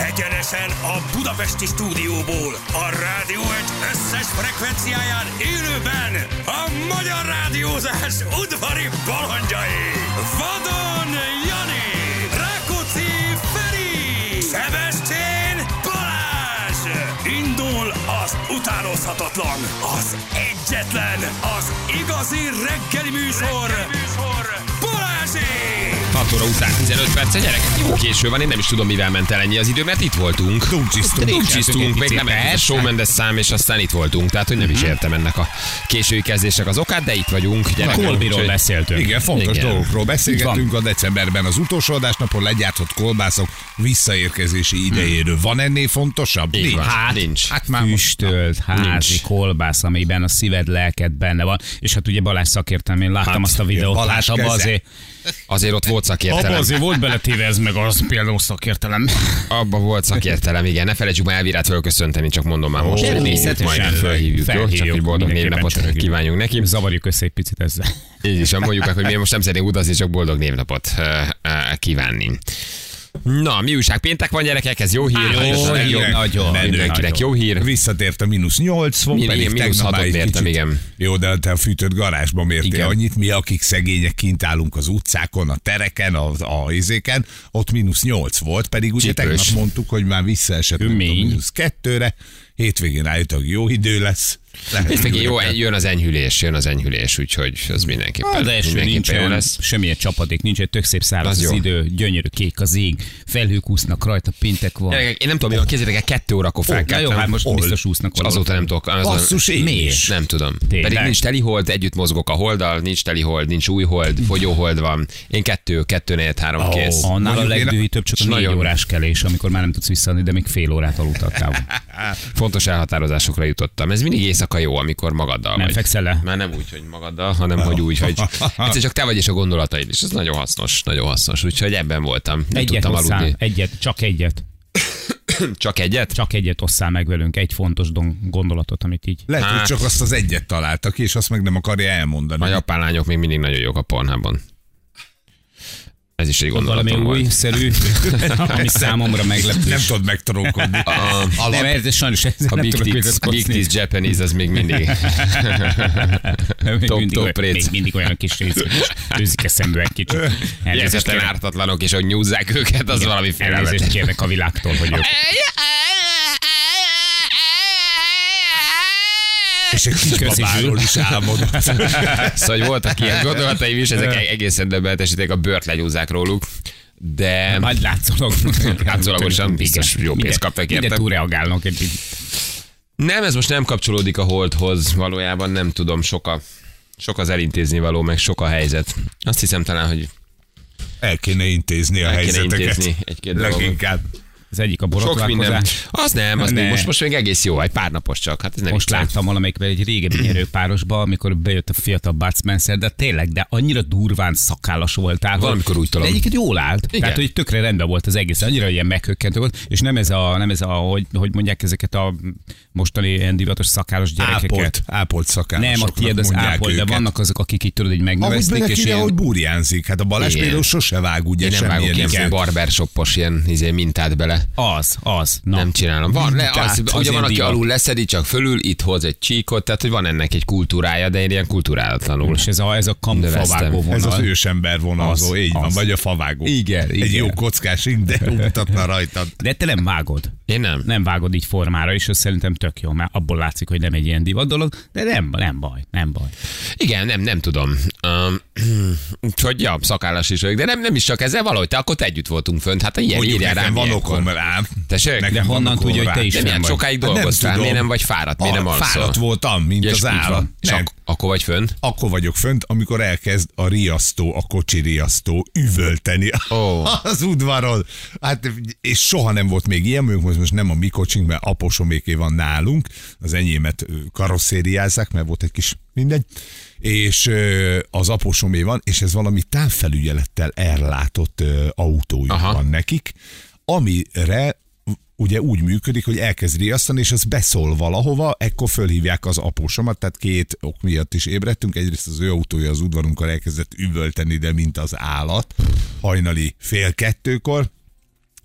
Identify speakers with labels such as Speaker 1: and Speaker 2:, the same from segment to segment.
Speaker 1: Élősen a Budapesti stúdióból, a rádió egy összes frekvenciáján élőben a magyar rádiózás udvari balandjai. Vadon Jani, Rákóczi Feri, Szebestén Balázs. Indul az utánozhatatlan, az egyetlen, az igazi reggeli műsor, reggeli műsor. Balázsék!
Speaker 2: 6 óra után 15 perc, gyerekek, jó késő van, én nem is tudom, mivel ment el ennyi az idő, mert itt voltunk.
Speaker 3: Dumcsisztunk.
Speaker 2: Dumcsisztunk, még nem ment a show Mendes szám, és aztán itt voltunk, tehát hogy nem is értem ennek a késői kezdésnek az okát, de itt vagyunk. gyerekek,
Speaker 3: Kolbiról
Speaker 2: úgyhogy-
Speaker 3: beszéltünk. Igen, fontos
Speaker 2: Igen.
Speaker 3: Igen. dolgokról
Speaker 2: Így
Speaker 3: beszélgettünk a decemberben az utolsó adásnapon legyártott kolbászok
Speaker 4: Hmm.
Speaker 3: visszaérkezési idejéről. Van ennél fontosabb?
Speaker 2: Így van.
Speaker 3: Hát,
Speaker 2: Nincs.
Speaker 3: hát már most
Speaker 4: füstölt házi
Speaker 2: Nincs.
Speaker 4: Nincs. kolbász, amiben a szíved, lelked benne van. És hát ugye Balázs szakértem, én láttam
Speaker 3: Hát,
Speaker 4: azt a videót.
Speaker 3: Balázs
Speaker 4: hát abba
Speaker 3: keze.
Speaker 4: azért,
Speaker 2: Azért ott volt
Speaker 4: abba
Speaker 2: szakértelem.
Speaker 4: azért volt beletéve ez meg az például szakértelem.
Speaker 2: Abba volt szakértelem, igen. Ne felejtsük már Elvirát fölköszönteni, csak mondom már most.
Speaker 4: Ó,
Speaker 2: Nézzük, majd
Speaker 4: természetesen.
Speaker 2: fölhívjuk, jó? Csak
Speaker 4: Felhívjuk,
Speaker 2: hogy boldog
Speaker 4: mindenképpen
Speaker 2: névnapot
Speaker 4: csak.
Speaker 2: kívánjunk neki.
Speaker 4: Zavarjuk össze egy picit ezzel.
Speaker 2: Így is, van, mondjuk meg, hogy mi most nem szeretnénk utazni, csak boldog névnapot ö, ö, kívánni. Na, mi újság? Péntek van gyerekek, ez jó hír.
Speaker 4: Á, jó hír, nagyon,
Speaker 2: Mindenkinek jó hír.
Speaker 3: Visszatért a mínusz 8 fok,
Speaker 2: Min-
Speaker 3: pedig
Speaker 2: igen, mínusz
Speaker 3: tegnap már
Speaker 2: hatot
Speaker 3: egy
Speaker 2: mértem,
Speaker 3: kicsit.
Speaker 2: igen.
Speaker 3: Jó, de te a fűtött garázsban mértél
Speaker 2: Igen.
Speaker 3: annyit, mi akik szegények kint állunk az utcákon, a tereken, a, a izéken, ott mínusz 8 volt, pedig ugye
Speaker 2: Csipős.
Speaker 3: tegnap mondtuk, hogy már visszaesett nem tudom,
Speaker 4: Kemény.
Speaker 3: mínusz 2-re, hétvégén rájött, hogy jó idő lesz. Lehet,
Speaker 2: Hétvégén
Speaker 3: hogy
Speaker 2: jó,
Speaker 3: ötöt.
Speaker 2: jön az enyhülés, jön az enyhülés, úgyhogy az mindenképpen,
Speaker 4: de eső nincs,
Speaker 2: mindenképpen jó lesz.
Speaker 4: semmilyen csapadék, nincs egy tök szép száraz
Speaker 2: Az
Speaker 4: az,
Speaker 2: jó.
Speaker 4: idő, gyönyörű kék az ég, felhők úsznak rajta, péntek van.
Speaker 2: Gyerekek, én nem tudom, hogy kézzétek el, kettő órakor
Speaker 4: Na
Speaker 2: felkeltem.
Speaker 4: jó, hát most
Speaker 3: Hol?
Speaker 4: biztos úsznak
Speaker 2: És azóta nem tudok. Azon,
Speaker 3: Basszus, én is.
Speaker 2: Nem tudom.
Speaker 4: Tényleg?
Speaker 2: Pedig nincs teli hold, együtt mozgok a holddal, nincs teli hold, nincs új hold, fogyó hold van. Én kettő, kettő, négy, három, oh. kész.
Speaker 4: Annál a
Speaker 3: Mondjuk én-
Speaker 4: legdühítőbb csak a
Speaker 2: És
Speaker 4: négy
Speaker 2: nagyon-
Speaker 4: órás kelés, amikor már nem tudsz visszaadni, de még fél órát aludtál.
Speaker 2: Fontos elhatározásokra jutottam. Ez mindig éjszaka jó, amikor magaddal
Speaker 4: Nem
Speaker 2: vagy.
Speaker 4: fekszel le?
Speaker 2: Már nem úgy, hogy magaddal, hanem hogy úgy, hogy egyszer csak te vagy és a gondolataid, és ez nagyon hasznos, nagyon hasznos. Úgyhogy ebben voltam. Nem
Speaker 4: Egyet
Speaker 2: tudtam
Speaker 4: osszál,
Speaker 2: aludni.
Speaker 4: egyet, csak egyet.
Speaker 2: Csak egyet?
Speaker 4: Csak egyet osszál meg velünk, egy fontos don- gondolatot, amit így...
Speaker 3: Lehet, hogy
Speaker 2: Hát.
Speaker 3: csak azt az egyet találta ki, és azt meg nem akarja elmondani.
Speaker 2: A japán lányok még mindig nagyon jók a pornában. Ez is egy
Speaker 4: Valami
Speaker 2: gondolatom volt.
Speaker 4: újszerű, ami számomra meglepő.
Speaker 3: Nem tudod megtrókodni.
Speaker 4: Nem, ez sajnos ez
Speaker 2: A
Speaker 4: nem
Speaker 2: Big
Speaker 4: tudok
Speaker 2: Tits, Big
Speaker 4: vitatkozni.
Speaker 2: Tits Japanese, az még mindig.
Speaker 4: Még
Speaker 2: Top-
Speaker 4: mindig
Speaker 2: top
Speaker 4: olyan-
Speaker 2: rét.
Speaker 4: Még mindig olyan kis őzik eszembe egy kicsit. Elnézést
Speaker 2: Érzetetlen
Speaker 4: kérek-
Speaker 2: ártatlanok, és hogy nyúzzák őket, az valami
Speaker 4: Elnézést
Speaker 2: félelmetes.
Speaker 4: kérnek a világtól, hogy ők
Speaker 3: És egy kis
Speaker 4: Köszi,
Speaker 3: babáról is álmodott.
Speaker 2: Szóval hogy voltak ilyen gondolataim is, ezek egészen döbbenetesíték, a bőrt legyúzzák róluk, de...
Speaker 4: majd látszólag.
Speaker 2: Látszólagosan biztos jó pénzt
Speaker 4: Ide-
Speaker 2: kaptak
Speaker 4: Ide
Speaker 2: érte.
Speaker 4: túl reagálnak egy
Speaker 2: Nem, ez most nem kapcsolódik a holdhoz, valójában nem tudom, sok, a, sok az elintézni való, meg sok a helyzet. Azt hiszem talán, hogy
Speaker 3: El kéne intézni a
Speaker 2: El kéne
Speaker 3: helyzeteket.
Speaker 2: intézni egy-két dolgot.
Speaker 3: Leginkább.
Speaker 4: Az egyik a
Speaker 2: sok minden.
Speaker 4: borotválkozás.
Speaker 2: Az nem, az még,
Speaker 4: Ne.
Speaker 2: most, most még egész jó, egy pár napos csak. Hát ez nem
Speaker 4: Most
Speaker 2: viccelem.
Speaker 4: láttam valamelyikben egy régebbi nyerőpárosba, amikor bejött a fiatal Bud Spencer, de tényleg, de annyira durván szakállas voltál. hogy-
Speaker 2: Valamikor úgy tudom.
Speaker 4: De egyébként jól állt.
Speaker 2: Igen.
Speaker 4: Igen. Tehát, hogy tökre rendben volt az egész, annyira ilyen meghökkentő volt, és nem ez a, nem ez a hogy, hogy mondják ezeket a mostani ilyen divatos szakállas gyerekeket.
Speaker 3: Ápolt, ápolt szakállasoknak
Speaker 4: Nem, a tiéd az
Speaker 3: mondják
Speaker 4: ápolt, de
Speaker 3: őket.
Speaker 4: vannak azok, akik így tudod, hogy
Speaker 3: Ahogy
Speaker 4: megnövezték,
Speaker 3: bele
Speaker 4: és
Speaker 3: kéne,
Speaker 4: ilyen...
Speaker 3: hogy burjánzik. Hát a Balázs
Speaker 2: Igen.
Speaker 3: például sose vág ugye
Speaker 2: Én nem vágok
Speaker 3: semmilyen
Speaker 2: ilyen
Speaker 3: izét.
Speaker 2: barbershopos ilyen izé, mintát bele.
Speaker 4: Az, az. Na.
Speaker 2: Nem csinálom. Van, le,
Speaker 4: Tehát,
Speaker 2: az,
Speaker 4: az
Speaker 2: ugye van,
Speaker 4: ilyen
Speaker 2: aki
Speaker 4: divat.
Speaker 2: alul leszedi, csak fölül, itt hoz egy csíkot, tehát hogy van ennek egy kultúrája, de én ilyen kultúrálatlanul.
Speaker 4: És ez a, ez a kamfavágó
Speaker 2: Növeztem.
Speaker 4: vonal.
Speaker 3: Ez az ősember vonalzó,
Speaker 4: Az,
Speaker 3: így van,
Speaker 4: az.
Speaker 3: vagy a favágó.
Speaker 4: Igen,
Speaker 3: Egy
Speaker 4: igen.
Speaker 3: jó kockás de mutatna rajtad.
Speaker 4: De te nem vágod.
Speaker 2: Én nem.
Speaker 4: nem vágod így formára, és ez szerintem tök jó, mert abból látszik, hogy nem egy ilyen divat dolog, de nem, nem baj, nem baj.
Speaker 2: Igen, nem, nem tudom. Um, úgyhogy, ja, szakállas is vagyok, de nem, nem is csak ezzel valahogy, te akkor te együtt voltunk fönt, hát ilyen
Speaker 3: Mondjuk
Speaker 2: írjál rám.
Speaker 3: nekem van
Speaker 2: ilyenkor.
Speaker 3: okom rám.
Speaker 2: Tessék?
Speaker 3: Nekem
Speaker 2: De
Speaker 3: van
Speaker 4: honnan
Speaker 3: okom
Speaker 4: tudja, hogy te
Speaker 3: rám.
Speaker 4: is
Speaker 2: De
Speaker 4: nem
Speaker 2: milyen
Speaker 4: vagy.
Speaker 2: sokáig
Speaker 3: Hát nem
Speaker 2: dolgoztál,
Speaker 3: tudom.
Speaker 2: miért nem vagy fáradt, miért nem
Speaker 3: Ah,
Speaker 2: alszol?
Speaker 3: Fáradt voltam, mint
Speaker 2: És
Speaker 3: az
Speaker 2: így
Speaker 3: állat.
Speaker 2: van. Csak akkor vagy fönt?
Speaker 3: akkor vagyok fönt, amikor elkezd a riasztó, a kocsi riasztó üvölteni
Speaker 2: Ó.
Speaker 3: az udvaron. Hát, és soha nem volt még ilyen, mondjuk most, most nem a mi kocsink, mert aposoméké van nálunk, az enyémet ö, karosszériázzák, mert volt egy kis mindegy, és ö, az aposomé van, és ez valami távfelügyelettel ellátott ö, autójuk
Speaker 2: Aha.
Speaker 3: van nekik, amire ugye úgy működik, hogy elkezd riasztani, és az beszól valahova, ekkor fölhívják az apósomat, tehát két ok miatt is ébredtünk. Egyrészt az ő autója az udvarunkkal elkezdett üvölteni, de mint az állat, hajnali fél kettőkor,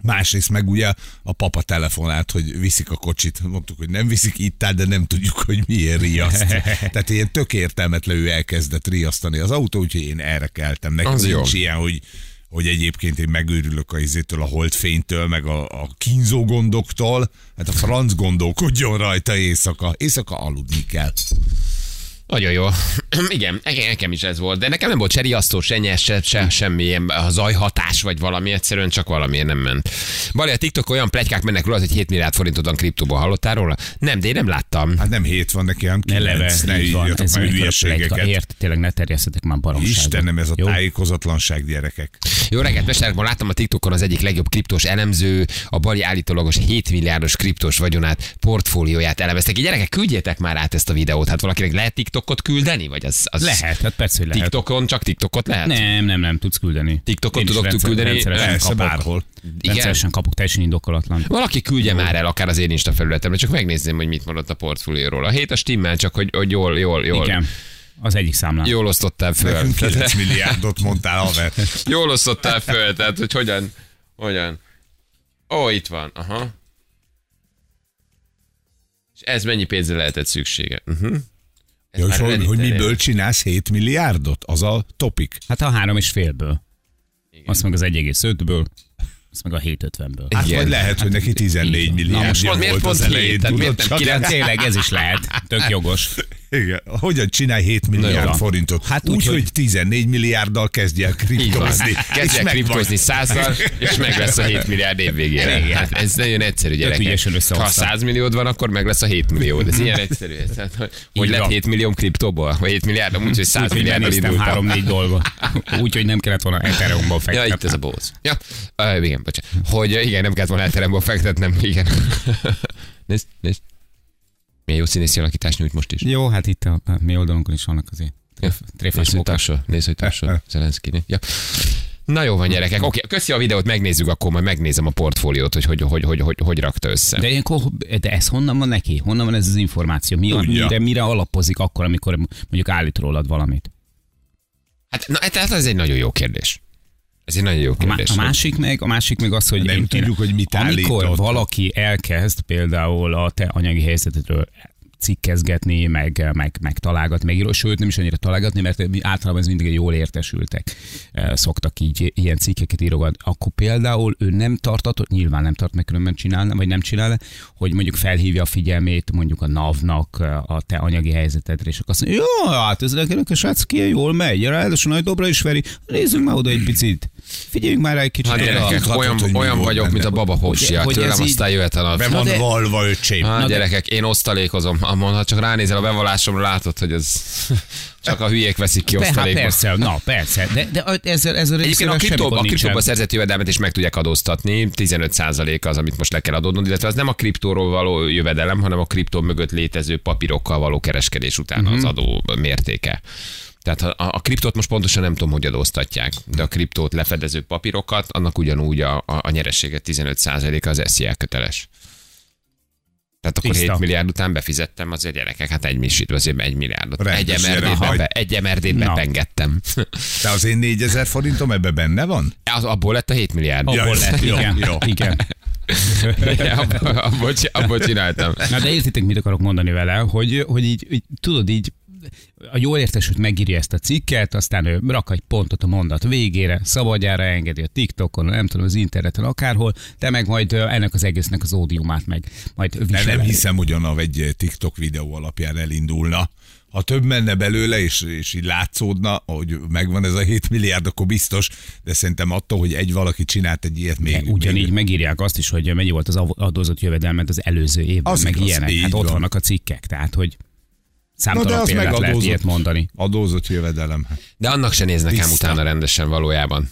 Speaker 3: Másrészt meg ugye a papa telefonált, hogy viszik a kocsit. Mondtuk, hogy nem viszik itt áll, de nem tudjuk, hogy miért riaszt. Tehát ilyen tök értelmetlen ő elkezdett riasztani az autó, úgyhogy én erre keltem. Nekem
Speaker 2: Az
Speaker 3: nincs
Speaker 2: jó.
Speaker 3: ilyen, hogy hogy egyébként én megőrülök a izétől, a holdfénytől, meg a, a kínzó gondoktól. Hát a franc gondolkodjon rajta éjszaka. Éjszaka aludni kell.
Speaker 2: Nagyon jó. Igen, nekem- nekem is ez volt. De nekem nem volt se riasztó, se nyers, se, se semmilyen a zajhatás, vagy valami egyszerűen csak valamiért nem ment. Valami a TikTok olyan plegykák mennek róla, hogy 7 milliárd forintot a kriptóban hallottál róla? Nem, de én nem láttam.
Speaker 3: Hát nem hét van neki, hanem
Speaker 4: Eleve,
Speaker 3: kilenc. Ne
Speaker 4: így van,
Speaker 3: írjatok
Speaker 4: ez hát
Speaker 3: már
Speaker 4: amikor a plegyka
Speaker 3: hülyeségeket.
Speaker 4: ért, tényleg ne terjesztetek már baromságot.
Speaker 3: Istenem, ez a
Speaker 4: Jó?
Speaker 3: tájékozatlanság, gyerekek.
Speaker 2: Jó reggelt, Mesterek, ma láttam a TikTokon az egyik legjobb kriptos elemző, a bali állítólagos 7 milliárdos kriptos vagyonát, portfólióját elemeztek. Így gyerekek, küldjétek már át ezt a videót. Hát valakinek lehet TikTokot küldeni? Vagy az, az
Speaker 4: Lehet, hát persze, hogy lehet.
Speaker 2: TikTokon csak TikTokot lehet?
Speaker 4: Nem, nem, nem, tudsz küldeni.
Speaker 2: TikTokon
Speaker 4: Én is
Speaker 2: tudok
Speaker 4: rendszer-
Speaker 2: küldeni,
Speaker 4: rendszeresen
Speaker 3: Persze,
Speaker 4: kapok.
Speaker 3: bárhol.
Speaker 4: Rendszeresen kapok, teljesen indokolatlan.
Speaker 2: Valaki küldje már el, akár az én Insta felületemre, csak megnézném, hogy mit mondott a portfólióról. A hét a stimmel, csak hogy, hogy jól, jól, jól.
Speaker 4: Igen, az egyik számlán.
Speaker 2: Jól osztottál föl.
Speaker 3: Nekünk 9 milliárdot mondtál, haver.
Speaker 2: Jól osztottál föl, tehát hogy hogyan, hogyan. Ó, itt van, aha. És ez mennyi pénzre lehetett szüksége? Uh-huh. Ez
Speaker 3: Ja, és
Speaker 4: Hát
Speaker 2: már
Speaker 3: hogy,
Speaker 2: Redditen
Speaker 3: hogy
Speaker 2: él.
Speaker 3: miből csinálsz 7 milliárdot? Az a topik.
Speaker 4: Hát a három és félből. Azt meg az 1,5-ből, azt meg a 7,50-ből.
Speaker 3: Hát
Speaker 2: Igen.
Speaker 3: vagy lehet, hogy neki 14
Speaker 2: Na
Speaker 3: milliárd
Speaker 2: most
Speaker 3: volt
Speaker 2: pont miért
Speaker 3: az
Speaker 2: pont
Speaker 3: elején.
Speaker 2: hét? Tehát
Speaker 3: Tudod,
Speaker 2: miért nem
Speaker 3: csak
Speaker 2: kilenc?
Speaker 4: Hát tényleg ez is lehet, tök jogos.
Speaker 3: Igen. Hogyan csinálj 7 milliárd
Speaker 4: Na jó.
Speaker 3: forintot? Hát
Speaker 4: Hát
Speaker 3: úgy,
Speaker 4: úgy,
Speaker 3: hogy
Speaker 4: hogy
Speaker 3: 14 milliárddal kezdj el
Speaker 2: Így van.
Speaker 3: kriptozni.
Speaker 2: Kezdj
Speaker 3: És
Speaker 2: el
Speaker 3: megvan.
Speaker 2: kriptozni százzal, és meg lesz a 7 milliárd év végére.
Speaker 4: Igen.
Speaker 2: Hát ez nagyon egyszerű gyerekek.
Speaker 4: ügyesen összehozta.
Speaker 2: Ha 100 milliód van, akkor meg lesz a 7 milliód. Ez ilyen egyszerű. Tehát, hogy- hogy
Speaker 4: Így
Speaker 2: lett
Speaker 4: van.
Speaker 2: 7 millió kriptóból? Vagy 7 milliárd, amúgy, hogy 100
Speaker 4: Úgyhogy
Speaker 2: milliárd
Speaker 4: benéztem
Speaker 2: indultam.
Speaker 4: három-négy dolgot. Úgyhogy nem kellett volna Ethereumban
Speaker 2: Ja,
Speaker 4: fektetni.
Speaker 2: itt ez a bóz. Ja, uh, igen, bocsánat. Hogy ö, igen, nem kellett volna elterembe fektetnem, igen. nézd, nézd. Milyen jó színészi alakítás nyújt most is.
Speaker 4: Jó, hát itt a, a mi oldalunkon is vannak azért
Speaker 2: Hát
Speaker 4: tréfás
Speaker 2: Nézd, hogy
Speaker 4: mókás.
Speaker 2: társol, nézd, hogy társol. Zelenszky. Ja. Na jó van, gyerekek. Oké, köszi a videót, megnézzük, akkor majd megnézem a portfóliót, hogy hogy, hogy, hogy, hogy, hogy rakta össze.
Speaker 4: De, ilyenkor, de ez honnan van neki? Honnan van ez az információ? Mi,
Speaker 3: Tudja.
Speaker 4: mire, mire alapozik akkor, amikor mondjuk állít rólad valamit?
Speaker 2: Hát, na, hát ez egy nagyon jó kérdés. Ez egy nagyon jó
Speaker 4: A, má-
Speaker 2: kérdés.
Speaker 4: a másik meg, a másik meg az, hogy
Speaker 3: Nem tudjuk, hogy mit
Speaker 4: Amikor
Speaker 3: állított.
Speaker 4: valaki elkezd például a te anyagi helyzetedről cikkezgetni, meg, meg, meg találgatni, meg író, sőt nem is annyira találgatni, mert mi- általában ez mindig jól értesültek eh, szoktak így ilyen cikkeket írogatni. Akkor például ő nem tartatott, nyilván nem tart meg, különben csinálna, vagy nem csinálna, hogy mondjuk felhívja a figyelmét mondjuk a NAV-nak eh, a te anyagi helyzetedre, és akkor azt mondja, jó, hát ez a srác ki jól megy, ráadásul nagy dobra is veri, nézzünk már oda egy picit, figyeljünk már rá egy kicsit.
Speaker 2: Hát
Speaker 4: oda.
Speaker 2: gyerekek,
Speaker 3: Tudhatod,
Speaker 2: olyan,
Speaker 3: hogy mi
Speaker 2: olyan
Speaker 3: volt
Speaker 2: vagyok, mint a
Speaker 3: benne.
Speaker 2: baba hopsia.
Speaker 4: hogy
Speaker 2: Tőlem
Speaker 4: ez így-
Speaker 2: aztán jöhet a nap.
Speaker 3: Be van
Speaker 4: de-
Speaker 3: valva, öcsém.
Speaker 2: Hát,
Speaker 4: de-
Speaker 2: gyerekek, én osztalékozom. Ha mondhat, csak ránézel a bevallásomra, látod, hogy ez csak a hülyék veszik ki
Speaker 4: Pe- Hát
Speaker 2: osztalékba.
Speaker 4: persze, na persze, de, de ezzel, ezzel
Speaker 2: Egyébként
Speaker 4: részével
Speaker 2: a, kriptó,
Speaker 4: semmi
Speaker 2: a
Speaker 4: gond
Speaker 2: kriptóba
Speaker 4: nincsen.
Speaker 2: szerzett jövedelmet is meg tudják adóztatni, 15% az, amit most le kell adódnod, illetve az nem a kriptóról való jövedelem, hanem a kriptó mögött létező papírokkal való kereskedés után az
Speaker 4: Mhm.
Speaker 2: adó mértéke. Tehát ha a, a kriptót most pontosan nem tudom, hogy adóztatják, de a kriptót lefedező papírokat, annak ugyanúgy a, a, a nyeressége 15% az SZIA köteles. Tehát akkor
Speaker 4: Tiszta.
Speaker 2: 7 milliárd után befizettem azért gyerekek, hát egy misit, azért egy milliárdot. Egy
Speaker 3: Rendes
Speaker 2: emerdét,
Speaker 3: gyerekek.
Speaker 2: be, egy emerdét
Speaker 4: Na.
Speaker 2: bepengettem.
Speaker 3: De az én 4000 forintom ebbe benne van?
Speaker 2: Az, abból lett a 7 milliárd.
Speaker 3: Ja,
Speaker 4: Abból
Speaker 3: jó,
Speaker 4: lett,
Speaker 3: jó,
Speaker 4: igen,
Speaker 3: jó.
Speaker 4: igen.
Speaker 2: abból, abból, ci- abból csináltam.
Speaker 4: Na de értitek, mit akarok mondani vele, hogy, hogy így, így, tudod így, a jól értesült megírja ezt a cikket, aztán ő rak egy pontot a mondat végére, szabadjára engedi a TikTokon, nem tudom, az interneten, akárhol, te meg majd ö, ennek az egésznek az ódiumát meg majd
Speaker 3: De
Speaker 4: viseled.
Speaker 3: nem hiszem, hogy a NAV egy eh, TikTok videó alapján elindulna. Ha több menne belőle, és, és így látszódna, hogy megvan ez a 7 milliárd, akkor biztos, de szerintem attól, hogy egy valaki csinált egy ilyet még.
Speaker 4: De ugyanígy
Speaker 3: még
Speaker 4: megírják azt is, hogy mennyi volt az av- adózott jövedelmet az előző évben,
Speaker 3: Az
Speaker 4: az meg
Speaker 3: igaz,
Speaker 4: ilyenek.
Speaker 3: így
Speaker 4: Hát ott
Speaker 3: van.
Speaker 4: vannak a cikkek, tehát hogy számtalan
Speaker 3: Na, de az
Speaker 4: példát lehet
Speaker 3: megadózott.
Speaker 4: ilyet mondani.
Speaker 3: adózott jövedelem. Hát,
Speaker 2: De annak se néznek ám
Speaker 3: Tiszta.
Speaker 2: utána rendesen valójában.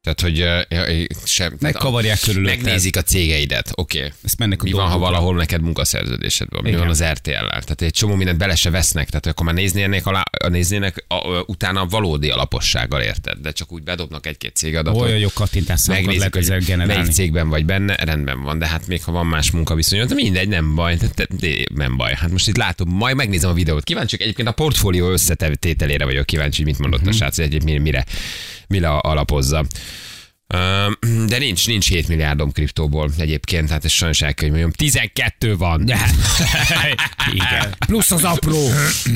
Speaker 2: Tehát, hogy ö, ö, sem, tehát a-
Speaker 4: Megkavarják körülötted.
Speaker 2: megnézik a cégeidet, oké. Okay.
Speaker 4: Ezt mennek a
Speaker 2: Mi van, ha
Speaker 4: dolgokra.
Speaker 2: valahol neked munkaszerződésed van? Mi
Speaker 4: Igen.
Speaker 2: van az RTL-lel? Tehát egy csomó mindent bele se vesznek, tehát akkor már néznének, alá, néznének a, ö, utána valódi alapossággal, érted? De csak úgy bedobnak egy-két cégadatot.
Speaker 4: Olyan jó kattintás számokat lehet
Speaker 2: megnézzük,
Speaker 4: ezzel
Speaker 2: hogy melyik
Speaker 4: generálni.
Speaker 2: cégben vagy benne, rendben van, de hát még ha van más munkaviszonyod, mindegy, nem baj, Te- te- te- nem baj. Hát most itt látom, majd megnézem a videót. Kíváncsi, vagyok. egyébként a portfólió összetételére vagyok kíváncsi, hogy mit mondott a srác, hogy egyébként mire, mire alapozza. Öm, De nincs, nincs 7 milliárdom kriptóból egyébként, hát ez sajnos el kell, hogy mondjam. 12 van,
Speaker 4: Igen. Plusz az apró.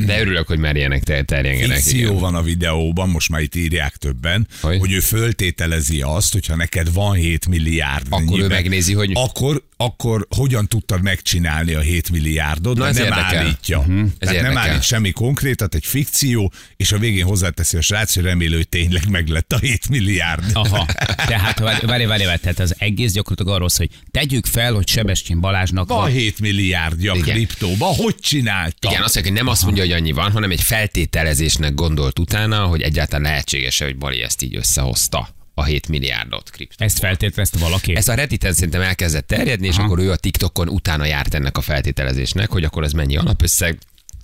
Speaker 2: de örülök, hogy már ilyenek ter- terjengenek.
Speaker 3: Fikció
Speaker 2: igen.
Speaker 3: van a videóban, most már itt írják többen,
Speaker 2: Hogy?
Speaker 3: hogy, hogy ő föltételezi azt, hogyha neked van 7 milliárd.
Speaker 2: Akkor ő megnézi, hogy
Speaker 3: Akkor, akkor hogyan tudtad megcsinálni a 7 milliárdot,
Speaker 2: Na,
Speaker 3: de
Speaker 2: ez
Speaker 3: nem
Speaker 2: érdekel. Mhm,
Speaker 3: állítja. Uh-huh.
Speaker 2: Ez
Speaker 3: Tehát nem
Speaker 2: érdekel.
Speaker 3: állít semmi konkrétat, egy fikció, és a végén hozzáteszi a srác, hogy remélő, hogy tényleg meglett a 7 milliárd.
Speaker 4: Aha, tehát várj, várj, várj, várj, tehát az egész gyakorlatilag arról szól, hogy tegyük fel, hogy Sebestyen Balázsnak
Speaker 3: Van
Speaker 4: van,
Speaker 3: 7 milliárdja
Speaker 2: Igen.
Speaker 3: kriptóba, hogy csinálta?
Speaker 2: Igen, azt mondja, hogy nem azt mondja, hogy annyi van, hanem egy feltételezésnek gondolt utána, hogy egyáltalán lehetséges-e, hogy Bali ezt így összehozta a 7 milliárdot kriptó.
Speaker 4: ezt feltételezte valaki.
Speaker 2: Ez a Redditen szerintem elkezdett terjedni, és Aha. akkor ő a TikTokon utána járt ennek a feltételezésnek, hogy akkor ez mennyi alapösszeg,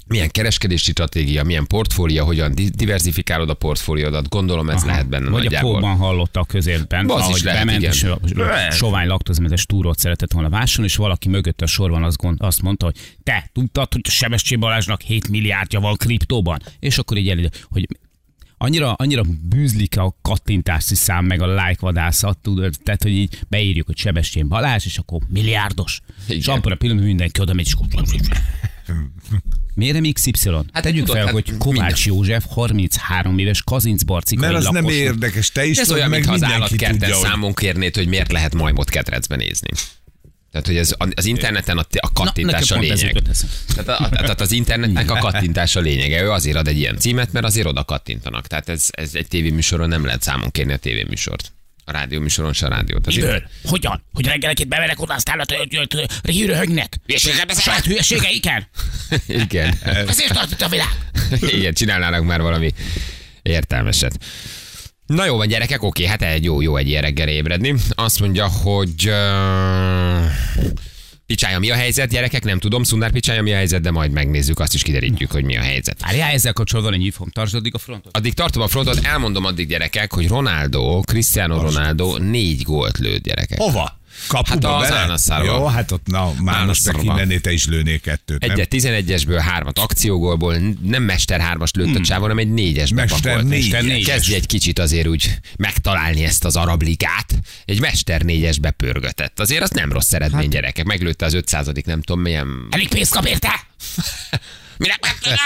Speaker 2: milyen kereskedési stratégia, milyen portfólia, hogyan di- diversifikálod a portfóliódat, gondolom ez Aha. lehet benne
Speaker 4: Vagy a
Speaker 2: nagyjából.
Speaker 4: póban hallotta a közérben,
Speaker 2: Az is lehet,
Speaker 4: bement,
Speaker 2: igen.
Speaker 4: és a
Speaker 3: Lehet.
Speaker 4: sovány laktózmentes túrót szeretett volna vásárolni, és valaki mögött a sorban azt, gond, azt mondta, hogy te tudtad, hogy Sebestyén Balázsnak 7 milliárdja van kriptóban? És akkor így elő, hogy annyira, annyira bűzlik a kattintási szám, meg a like vadászat, tudod, tehát, hogy így beírjuk, hogy Sebestyén Balázs, és akkor milliárdos.
Speaker 2: Igen.
Speaker 4: Igen. És abban a pillanatban mindenki oda megy, és akkor- Miért nem XY?
Speaker 2: Hát
Speaker 4: Hát tegyük
Speaker 2: tudod,
Speaker 4: fel,
Speaker 2: hát
Speaker 4: hogy Kovács
Speaker 2: minden.
Speaker 4: József 33 éves kazincbarcikai
Speaker 3: Mert az
Speaker 4: lakos.
Speaker 3: nem érdekes, te is
Speaker 2: Ez
Speaker 3: tudod,
Speaker 2: olyan,
Speaker 3: meg
Speaker 2: mintha az
Speaker 3: mindenki
Speaker 2: állatkerten
Speaker 3: tudja, hogy
Speaker 2: számon kérnéd, hogy miért lehet majmot ketrecbe nézni. Tehát, hogy ez az interneten a, a kattintás
Speaker 4: Na, nekem
Speaker 2: a
Speaker 4: pont ez
Speaker 2: lényeg.
Speaker 4: jutott eszembe.
Speaker 2: Tehát, a, a, tehát az internetnek a kattintás a lényege. Ő azért ad egy ilyen címet, mert azért oda kattintanak. Tehát ez, ez egy tévéműsoron nem lehet számon kérni a tévéműsort. A rádióműsoron se a rádiót. Az
Speaker 4: Miből? Hogyan? Hogy reggelenként beverek oda, aztán hűröhögnek?
Speaker 2: Hülyeségre
Speaker 4: A
Speaker 2: beszélek?
Speaker 4: saját hülyeségeiken?
Speaker 2: Igen.
Speaker 4: Ezért tartott a világ.
Speaker 2: Igen, csinálnának már valami értelmeset. Na jó van, gyerekek, oké, hát egy jó, jó egy ilyen reggel ébredni. Azt mondja, hogy... Uh... Picsája, mi a helyzet, gyerekek? Nem tudom, Szundár Picsája, mi a helyzet, de majd megnézzük, azt is kiderítjük, hogy mi a helyzet.
Speaker 4: Várjál, ezzel kapcsolatban egy hívfom, tartsd addig a frontot.
Speaker 2: Addig tartom a frontot, elmondom addig gyerekek, hogy Ronaldo, Cristiano Ronaldo négy gólt lőtt gyerekek.
Speaker 3: Hova? Kapuba
Speaker 2: Hát az
Speaker 3: vele?
Speaker 2: Ánaszáról.
Speaker 3: Jó, hát ott na, már most
Speaker 2: Ánaszáról.
Speaker 3: neki mindenné te is lőnél kettőt, nem?
Speaker 2: Egyet 11-esből, hármat akciógólból, nem Mester 3-as lőtt a csávon, hanem egy 4-es
Speaker 3: Hmm. Mester négyes.
Speaker 2: Kezdj egy kicsit azért úgy megtalálni ezt az arab ligát. Egy Mester 4-es bepörgötett. Azért az nem rossz eredmény, hát. gyerekek. Meglőtte az 500 nem tudom milyen...
Speaker 4: Elég pénzt kap érte?
Speaker 2: Minek megtudja?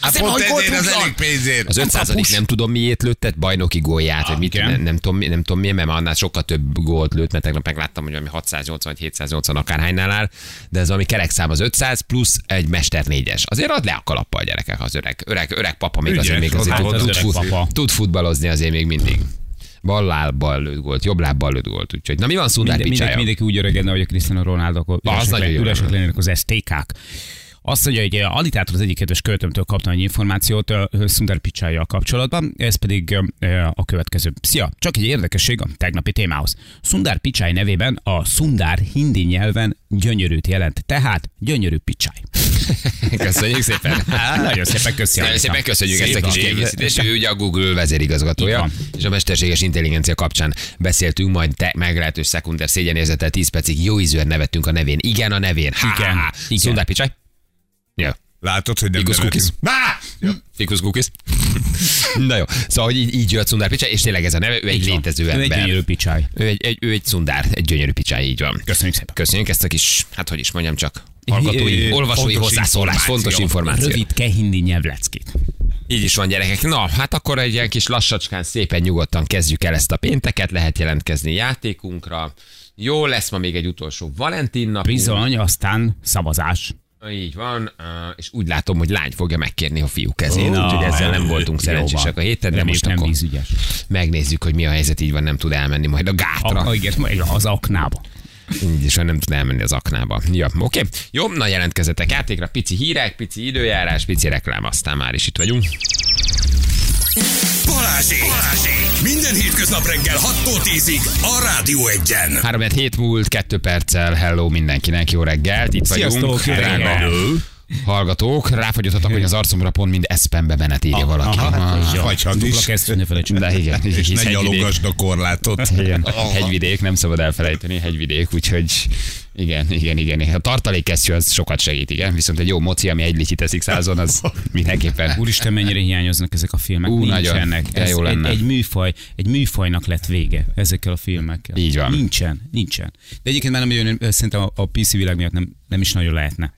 Speaker 3: Hát
Speaker 2: Azért,
Speaker 3: pont
Speaker 2: hogy gólt
Speaker 3: ezért az
Speaker 2: rúgjon.
Speaker 3: elég pénzért.
Speaker 2: Az 500 nem tudom miért lőttet, bajnoki gólját, hogy mit,
Speaker 4: Ah, igen.
Speaker 2: nem, nem, tudom, mi- nem tudom miért, mert annál sokkal több gólt lőtt, mert tegnap megláttam, hogy valami 680 vagy 780 akárhánynál áll, de ez valami kerekszám az 500 plusz egy mester négyes. Azért ad le a kalappal gyerekek az öreg, öreg, öreg papa még
Speaker 3: Ügyes,
Speaker 2: azért, még azért
Speaker 3: hát
Speaker 2: tud,
Speaker 4: az
Speaker 2: tud,
Speaker 4: öreg
Speaker 2: fut,
Speaker 4: papa.
Speaker 2: tud futballozni azért még mindig. Bal lábbal lőtt gólt, jobb lábbal lőtt gólt, úgyhogy. Na mi van Szundár
Speaker 4: Minden, mindenki,
Speaker 2: Picsája?
Speaker 4: mindenki úgy öregedne, hogy a Cristiano Ronaldo, akkor
Speaker 2: Na, az
Speaker 4: üresek,
Speaker 2: nagyon
Speaker 4: le,
Speaker 2: jó
Speaker 4: üresek
Speaker 2: lenne.
Speaker 4: lennének az STK-k. Azt mondja, hogy eh, Alitától az egyik kedves költömtől kaptam egy információt eh, Sundar Pichai-jal kapcsolatban, ez pedig eh, a következő. Szia! Csak egy érdekesség a tegnapi témához. Sundar Pichai nevében a Sundar hindi nyelven gyönyörűt jelent, tehát gyönyörű Pichai.
Speaker 2: Köszönjük szépen.
Speaker 4: Nagyon szépen köszönjük.
Speaker 2: Nagyon szépen köszönjük ezt a kis
Speaker 4: van.
Speaker 2: kiegészítést. Ő ugye a Google vezérigazgatója,
Speaker 4: Így van.
Speaker 2: és a mesterséges intelligencia kapcsán beszéltünk, majd te meglehetős szekunder szégyenérzettel 10 percig jó ízűen nevettünk a nevén. Igen, a nevén. Ha,
Speaker 4: Igen,
Speaker 2: ha, ha.
Speaker 4: igen.
Speaker 2: Szundár Picsaj? Ja.
Speaker 3: Látod, hogy nem
Speaker 2: Igaz
Speaker 3: nevetünk.
Speaker 2: cookies.
Speaker 3: Á!
Speaker 2: Fikusz Gukis. Na jó, szóval hogy így, így jött Szundár Picsaj, és tényleg ez a neve, ő egy
Speaker 4: Így van.
Speaker 2: létező
Speaker 4: Ő egy
Speaker 2: ember.
Speaker 4: gyönyörű Pichai.
Speaker 2: Ő egy, egy, ő egy szundár, egy gyönyörű picsáj, így van.
Speaker 4: Köszönjük szépen.
Speaker 2: Köszönjük ezt a kis, hát hogy is mondjam csak, hallgatói,
Speaker 3: Ö,
Speaker 2: olvasói
Speaker 3: fontos
Speaker 2: hozzászólás,
Speaker 3: információ.
Speaker 2: fontos információ.
Speaker 4: Rövid hindi nyelvleckét.
Speaker 2: Így is van, gyerekek. Na, hát akkor egy ilyen kis lassacskán, szépen nyugodtan kezdjük el ezt a pénteket, lehet jelentkezni játékunkra. Jó lesz ma még egy utolsó Valentin nap.
Speaker 4: Bizony, aztán szavazás.
Speaker 2: Így van, Ö, és úgy látom, hogy lány fogja megkérni a fiú kezén,
Speaker 4: Na,
Speaker 2: úgyhogy ezzel nem
Speaker 4: jó
Speaker 2: voltunk
Speaker 4: van.
Speaker 2: szerencsések a héten, de
Speaker 4: Reméljük
Speaker 2: most
Speaker 4: nem
Speaker 2: akkor
Speaker 4: vízügyes.
Speaker 2: megnézzük, hogy mi a helyzet, így van, nem tud elmenni majd a gátra.
Speaker 4: A, igen, majd az aknába.
Speaker 2: Így is, hogy nem tud elmenni az aknába. Ja, oké. Jó, na jelentkezzetek játékra. Pici hírek, pici időjárás, pici reklám, aztán már is itt vagyunk.
Speaker 1: Balázsi! Balázsi! Minden hétköznap reggel 6-tól 10-ig a Rádió 1-en.
Speaker 2: 3 hét múlt, 2 perccel, hello mindenkinek, jó reggelt, itt vagyunk.
Speaker 4: Sziasztok, jó
Speaker 2: drága
Speaker 4: reggelt.
Speaker 2: hallgatók, ráfagyottak, hogy az arcomra pont mind eszpembe benet írja valaki.
Speaker 4: hát
Speaker 2: Ah,
Speaker 3: Aha, vagy hat
Speaker 4: Dupla
Speaker 3: is.
Speaker 4: kezd, ne felejtsd.
Speaker 2: De igen,
Speaker 3: És
Speaker 2: hisz
Speaker 3: ne
Speaker 2: hegyvidék,
Speaker 3: gyalogasd a korlátot.
Speaker 2: igen,
Speaker 3: Aha.
Speaker 2: hegyvidék, nem szabad elfelejteni, hegyvidék, úgyhogy igen, igen, igen. A tartalékkesztyű az sokat segít, igen, viszont egy jó moci, ami egy lityit eszik százon, az mindenképpen.
Speaker 4: Úristen, mennyire hiányoznak ezek a filmek.
Speaker 2: Ú, nagyon.
Speaker 4: Nincsenek.
Speaker 2: De jó
Speaker 4: egy,
Speaker 2: lenne.
Speaker 4: egy, műfaj, egy műfajnak lett vége ezekkel a filmekkel.
Speaker 2: Így van.
Speaker 4: Nincsen, nincsen. De egyébként már nem nagyon, szerintem a, a PC világ miatt nem, nem is nagyon lehetne.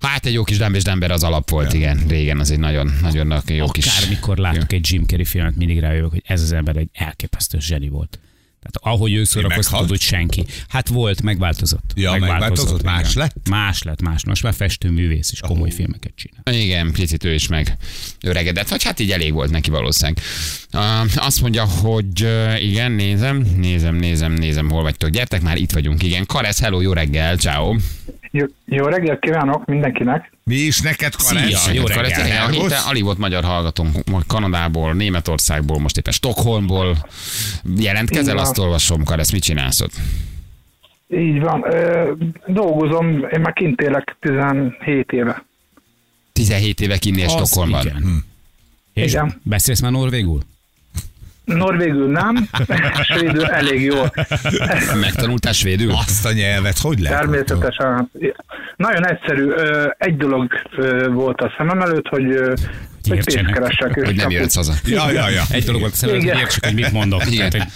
Speaker 2: Hát egy jó kis Dumb és Dumber az alap volt, igen, régen az egy nagyon, nagyon nagy- jó kis...
Speaker 4: Akármikor látok egy Jim Carrey filmet, mindig rájövök, hogy ez az ember egy elképesztő zseni volt. Tehát ahogy ő szórakoztatott,
Speaker 3: meghalt?
Speaker 4: hogy senki. Hát volt, megváltozott.
Speaker 3: Ja, megváltozott, más
Speaker 4: igen.
Speaker 3: lett?
Speaker 4: Más lett, más. Most már festőművész is komoly filmeket csinál.
Speaker 2: Igen, picit ő is meg öregedett, vagy hát így elég volt neki valószínűleg. Uh, azt mondja, hogy uh, igen, nézem, nézem, nézem, nézem, hol vagytok. Gyertek már, itt vagyunk, igen. Karesz, hello, jó reggel, ciao.
Speaker 5: Jó, jó reggelt kívánok mindenkinek!
Speaker 3: Mi is neked, Karesz?
Speaker 4: Szia, jó reggel.
Speaker 2: Karesz, igen, a héten
Speaker 3: Elgossz?
Speaker 2: alig volt magyar hallgatónk most Kanadából, Németországból, most éppen Stockholmból. Jelentkezel,
Speaker 5: Igen.
Speaker 2: azt olvasom, Karesz, mit csinálsz ott?
Speaker 5: Így van, ö, dolgozom, én már kint élek 17 éve.
Speaker 2: 17 éve kinnél
Speaker 4: Az
Speaker 2: Stockholmban.
Speaker 4: igen. És
Speaker 5: Igen.
Speaker 4: beszélsz már norvégul?
Speaker 5: Norvégül nem, svédül elég jól.
Speaker 2: Megtanultál svédül?
Speaker 3: Azt a nyelvet hogy lehet?
Speaker 5: Természetesen. Nagyon egyszerű, ö, egy dolog ö, volt a szemem előtt, hogy, ö, hogy pénzt
Speaker 4: Értsenek.
Speaker 5: keresek. és
Speaker 2: Hogy nem
Speaker 5: csak
Speaker 2: jöhetsz haza.
Speaker 3: Ja, ja, ja.
Speaker 4: Egy dolog volt szemben, hogy
Speaker 5: Igen.
Speaker 4: értsük, hogy mit mondok.
Speaker 2: Igen.
Speaker 4: Tehát,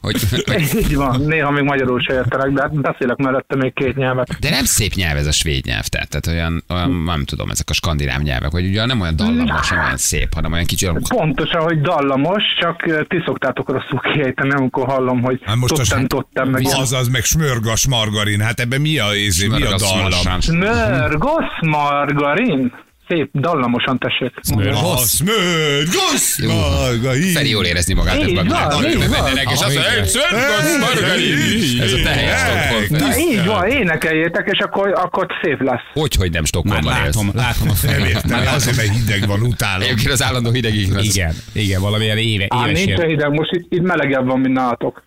Speaker 4: hogy
Speaker 2: Hogy, hogy,
Speaker 5: úgy- Így van, néha még magyarul se értenek, de hát beszélek mellette még két nyelvet.
Speaker 2: De nem szép nyelv ez a svéd nyelv, tehát, tehát olyan, olyan, nem tudom, ezek a skandináv nyelvek, hogy ugye nem olyan dallamos, nem olyan szép, hanem olyan kicsi olyan...
Speaker 5: Pontosan, hogy dallamos, csak ö, ti szoktátok rosszul kiejteni, amikor hallom, hogy
Speaker 3: Hát most a-
Speaker 5: tottem, tottem, meg ilyen-
Speaker 3: Az az meg smörgas margarin, hát ebben mi a, izé, mi a dallam?
Speaker 5: Smörgos margarin. Szép, dallamosan tessék.
Speaker 3: A smörgos margarin.
Speaker 2: Feri jól érezni magát
Speaker 5: Így
Speaker 2: ebben a
Speaker 5: van,
Speaker 2: világban.
Speaker 5: így
Speaker 2: Jó,
Speaker 5: van.
Speaker 2: menjenek, és azt mondja, "Hey, smörgös margarin!" Ez a teljes Stockholm.
Speaker 5: Na, így van, énekeljétek, és akkor, akkor szép lesz.
Speaker 2: Hogy, hogy nem
Speaker 4: már
Speaker 2: Stockholmban élsz.
Speaker 4: látom, látom a
Speaker 3: Nem
Speaker 4: fejét.
Speaker 3: értem, azért, mert hideg van, utálom.
Speaker 2: Egyébként az állandó hidegig. az-
Speaker 4: Igen, igen, valamilyen éve,
Speaker 5: Á,
Speaker 4: éves
Speaker 5: nincs
Speaker 4: ér.
Speaker 5: hideg, most itt, itt melegebb van, mint nálatok.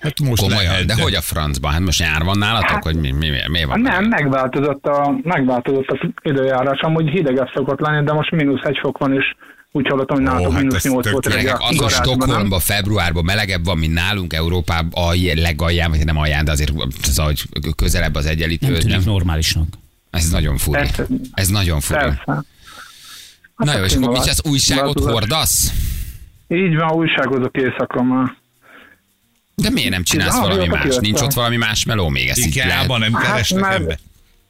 Speaker 3: Hát most
Speaker 2: Komolyan,
Speaker 3: lehet,
Speaker 2: de hogy a francban? Hát most nyár van nálatok,
Speaker 5: Hát-
Speaker 2: hogy mi, mi, mi, mi
Speaker 5: Hát
Speaker 2: van?
Speaker 5: Nem, megváltozott, a, megváltozott az időjárás, amúgy hidegebb szokott lenni, de most mínusz egy fok van, és úgy hallottam, hogy nálatok
Speaker 3: Ó, hát
Speaker 5: mínusz
Speaker 3: ez
Speaker 5: nyolc
Speaker 3: tök
Speaker 5: volt
Speaker 2: Gyerekek,
Speaker 5: reggel.
Speaker 2: az, hogy
Speaker 5: Garázsban, nem?
Speaker 2: Stockholmban februárban melegebb van, mint nálunk Európában, alj, legalján, vagy nem alján, de azért az, hogy közelebb az
Speaker 4: Nem
Speaker 2: egyenlítőhöz,
Speaker 4: tűnik
Speaker 2: nem?
Speaker 4: normálisnak.
Speaker 2: Ez nagyon furi.
Speaker 5: Persze.
Speaker 2: Ez nagyon furi.
Speaker 5: Persze. Hát
Speaker 2: Na jó, és akkor mit az újságot
Speaker 5: klímaváltozás.
Speaker 2: hordasz?
Speaker 5: Így van, újságozok éjszaka már.
Speaker 2: De miért nem csinálsz
Speaker 5: Ah,
Speaker 2: valami
Speaker 5: jó,
Speaker 2: más?
Speaker 5: kijöttem.
Speaker 2: Nincs ott valami más meló még ezt így lehet.
Speaker 3: Ikában nem
Speaker 5: Hát
Speaker 3: keresnek
Speaker 5: már-
Speaker 3: ember.